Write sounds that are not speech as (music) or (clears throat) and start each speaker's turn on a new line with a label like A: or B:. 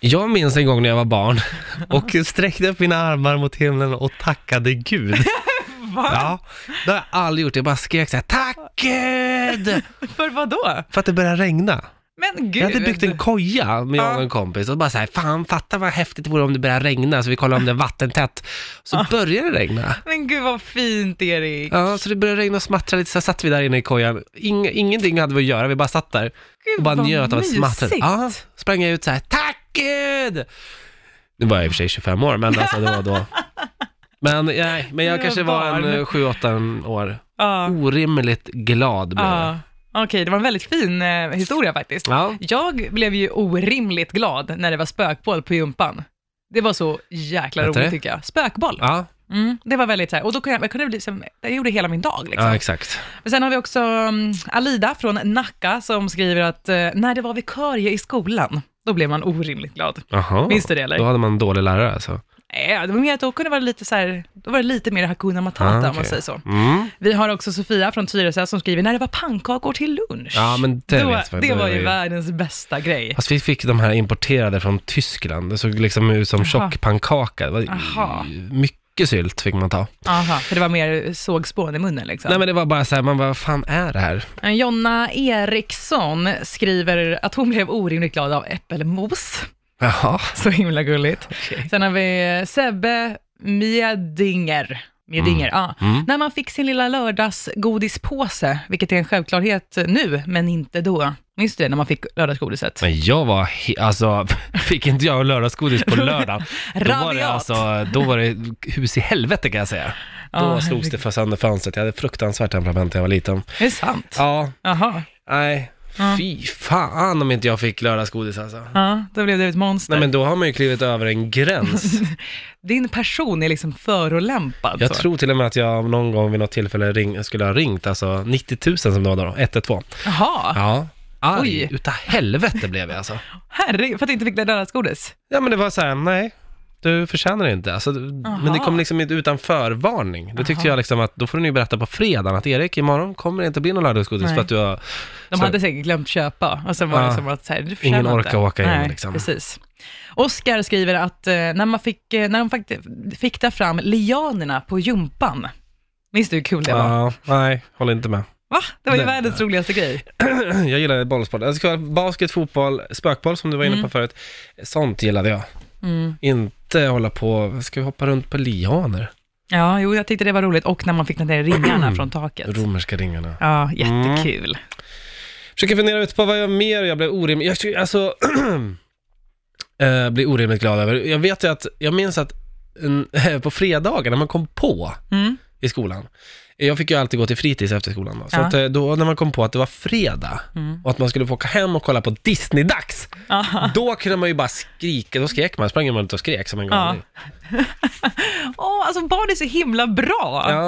A: Jag minns en gång när jag var barn (laughs) och sträckte upp mina armar mot himlen och tackade
B: (laughs)
A: Gud.
B: Va?
A: Ja, det har jag aldrig gjort. Jag bara skrek så här, tack Gud!
B: För vad då?
A: För att det började regna.
B: Men gud.
A: Jag hade byggt en koja med jag och
B: Ja.
A: en kompis och bara så här, fan fatta vad häftigt det vore om det började regna, så vi kollade om det är vattentätt. Så började det regna.
B: Men gud vad fint Erik.
A: Ja, så det började regna och smattra lite, så satt vi där inne i kojan. Ing, ingenting hade vi att göra, vi bara satt där
B: Gud
A: och bara
B: vad
A: njöt av smattret.
B: mysigt.
A: Ja, sprang jag ut så här, tack Gud! Nu var jag i och för sig 25 år, men alltså det var
B: (laughs)
A: då. Men, nej, men jag
B: Du
A: kanske
B: var
A: var en
B: barn.
A: eh, 7-8 år.
B: Ja.
A: Orimligt glad blev jag.
B: ja. Okej, det var en väldigt fin eh, historia faktiskt.
A: Ja.
B: Jag blev ju orimligt glad när det var spökboll på gympan. Det var så jäkla
A: Hette det?
B: roligt tycker jag. Spökboll.
A: Ja,
B: Mm, det var väldigt så här, och då kunde jag, jag kunde bli, som, jag gjorde hela min dag liksom.
A: ja, exakt.
B: Men sen har vi också mm, Alida från Nacka som skriver att eh, när det var vikarie i skolan, då blev man orimligt glad.
A: Jaha.
B: Minns du det eller?
A: Då hade man en dålig lärare alltså.
B: Nej, Eh, det var mer att då kunde det vara lite så här, då var det lite mer Hakuna Matata
A: Ah, okej.
B: om man säger så.
A: Mm.
B: Vi har också Sofia från Tyresö som skriver när det var pannkakor till lunch.
A: Ja, men det
B: då,
A: vet man.
B: det
A: Då
B: var
A: är
B: ju
A: vi-
B: världens bästa grej.
A: Fast vi fick de här importerade från Tyskland. Det såg liksom ut som tjockpannkaka. Det var
B: Aha.
A: Mycket sylt fick man ta.
B: Aha, för det var mer sågspån i munnen liksom.
A: Nej men det var bara så här, man bara, vad fan är det här?
B: Eh, Jonna Eriksson skriver att hon blev orimligt glad av äppelmos. (laughs)
A: Jaha.
B: Så himla gulligt. Sen har vi Sebbe Miedinger. Miedinger, ja.
A: Mm.
B: När man fick sin lilla lördagsgodispåse, vilket är en självklarhet nu, men inte då. Minns du det, när man fick lördagsgodiset?
A: Men jag var, he- alltså, (laughs) fick inte jag lördagsgodis på lördagen, då var, det
B: Rabiat.
A: alltså, då var det hus i helvete kan jag säga. Då
B: Ja,
A: slogs det för sönder fönstret, jag hade fruktansvärt temperament när jag var liten.
B: Är det sant?
A: Ja,
B: Jaha.
A: nej, fy fan om inte jag fick lördagsgodis alltså.
B: Ja, då blev du ett monster.
A: Nej men då har man ju klivit över en gräns.
B: (laughs) Din person är liksom förolämpad.
A: Jag
B: så.
A: tror till och med att jag någon gång vid något tillfälle ring, skulle ha ringt, alltså 90 000 som det var då, 112.
B: Jaha,
A: Ja. Arg,
B: Oj.
A: utav helvete blev jag alltså.
B: herregud, för att du inte fick lördagsgodis.
A: Ja men det var så här, nej, du förtjänar det inte. Alltså, men det kom liksom inte utan förvarning. Då tyckte
B: Aha.
A: jag liksom att, då får du ju berätta på fredagen att Erik, imorgon kommer det inte bli någon lördagsgodis
B: Nej.
A: för att du har...
B: De
A: Så-
B: hade säkert glömt köpa och sen var
A: Ja.
B: det som att så här, du förtjänar
A: Ingen
B: inte.
A: orkar åka in,
B: Nej,
A: liksom.
B: Precis. Oskar skriver att eh, när, man fick, eh, när de fakt- fick ta fram lianerna på gympan, minns du hur kul det var?
A: Ja, nej, håller inte med. (clears throat)
B: Va? Det var ju
A: Nej.
B: världens roligaste grej.
A: Jag gillar bollsport. Jag ska ha basket, fotboll, spökboll som du var inne
B: Mm.
A: på förut. Sånt gillade jag. Inte hålla på, ska vi hoppa runt på lianer?
B: Ja, jo, jag tyckte det var roligt och när man fick den där ringarna från taket.
A: Romerska ringarna.
B: Ja, jättekul.
A: Försöker fundera ut på vad jag mer jag blev orimlig, jag tycker- alltså, (clears throat) eh, blir orimligt glad över. Jag vet ju att, jag minns att en, (laughs) på fredagar när man kom på
B: Mm.
A: i skolan, jag fick ju alltid gå till fritids efter skolan då, så
B: Ja. Mm.
A: att eh, då när man kom på att det var fredag och att man skulle få åka hem och kolla på Disney-dags,
B: Aha.
A: då kunde man ju bara skrika, då skrek
B: (laughs)
A: man, sprang man ut och skrek som en
B: Ja.
A: galning.
B: Åh, alltså barn är så himla bra.
A: Ja.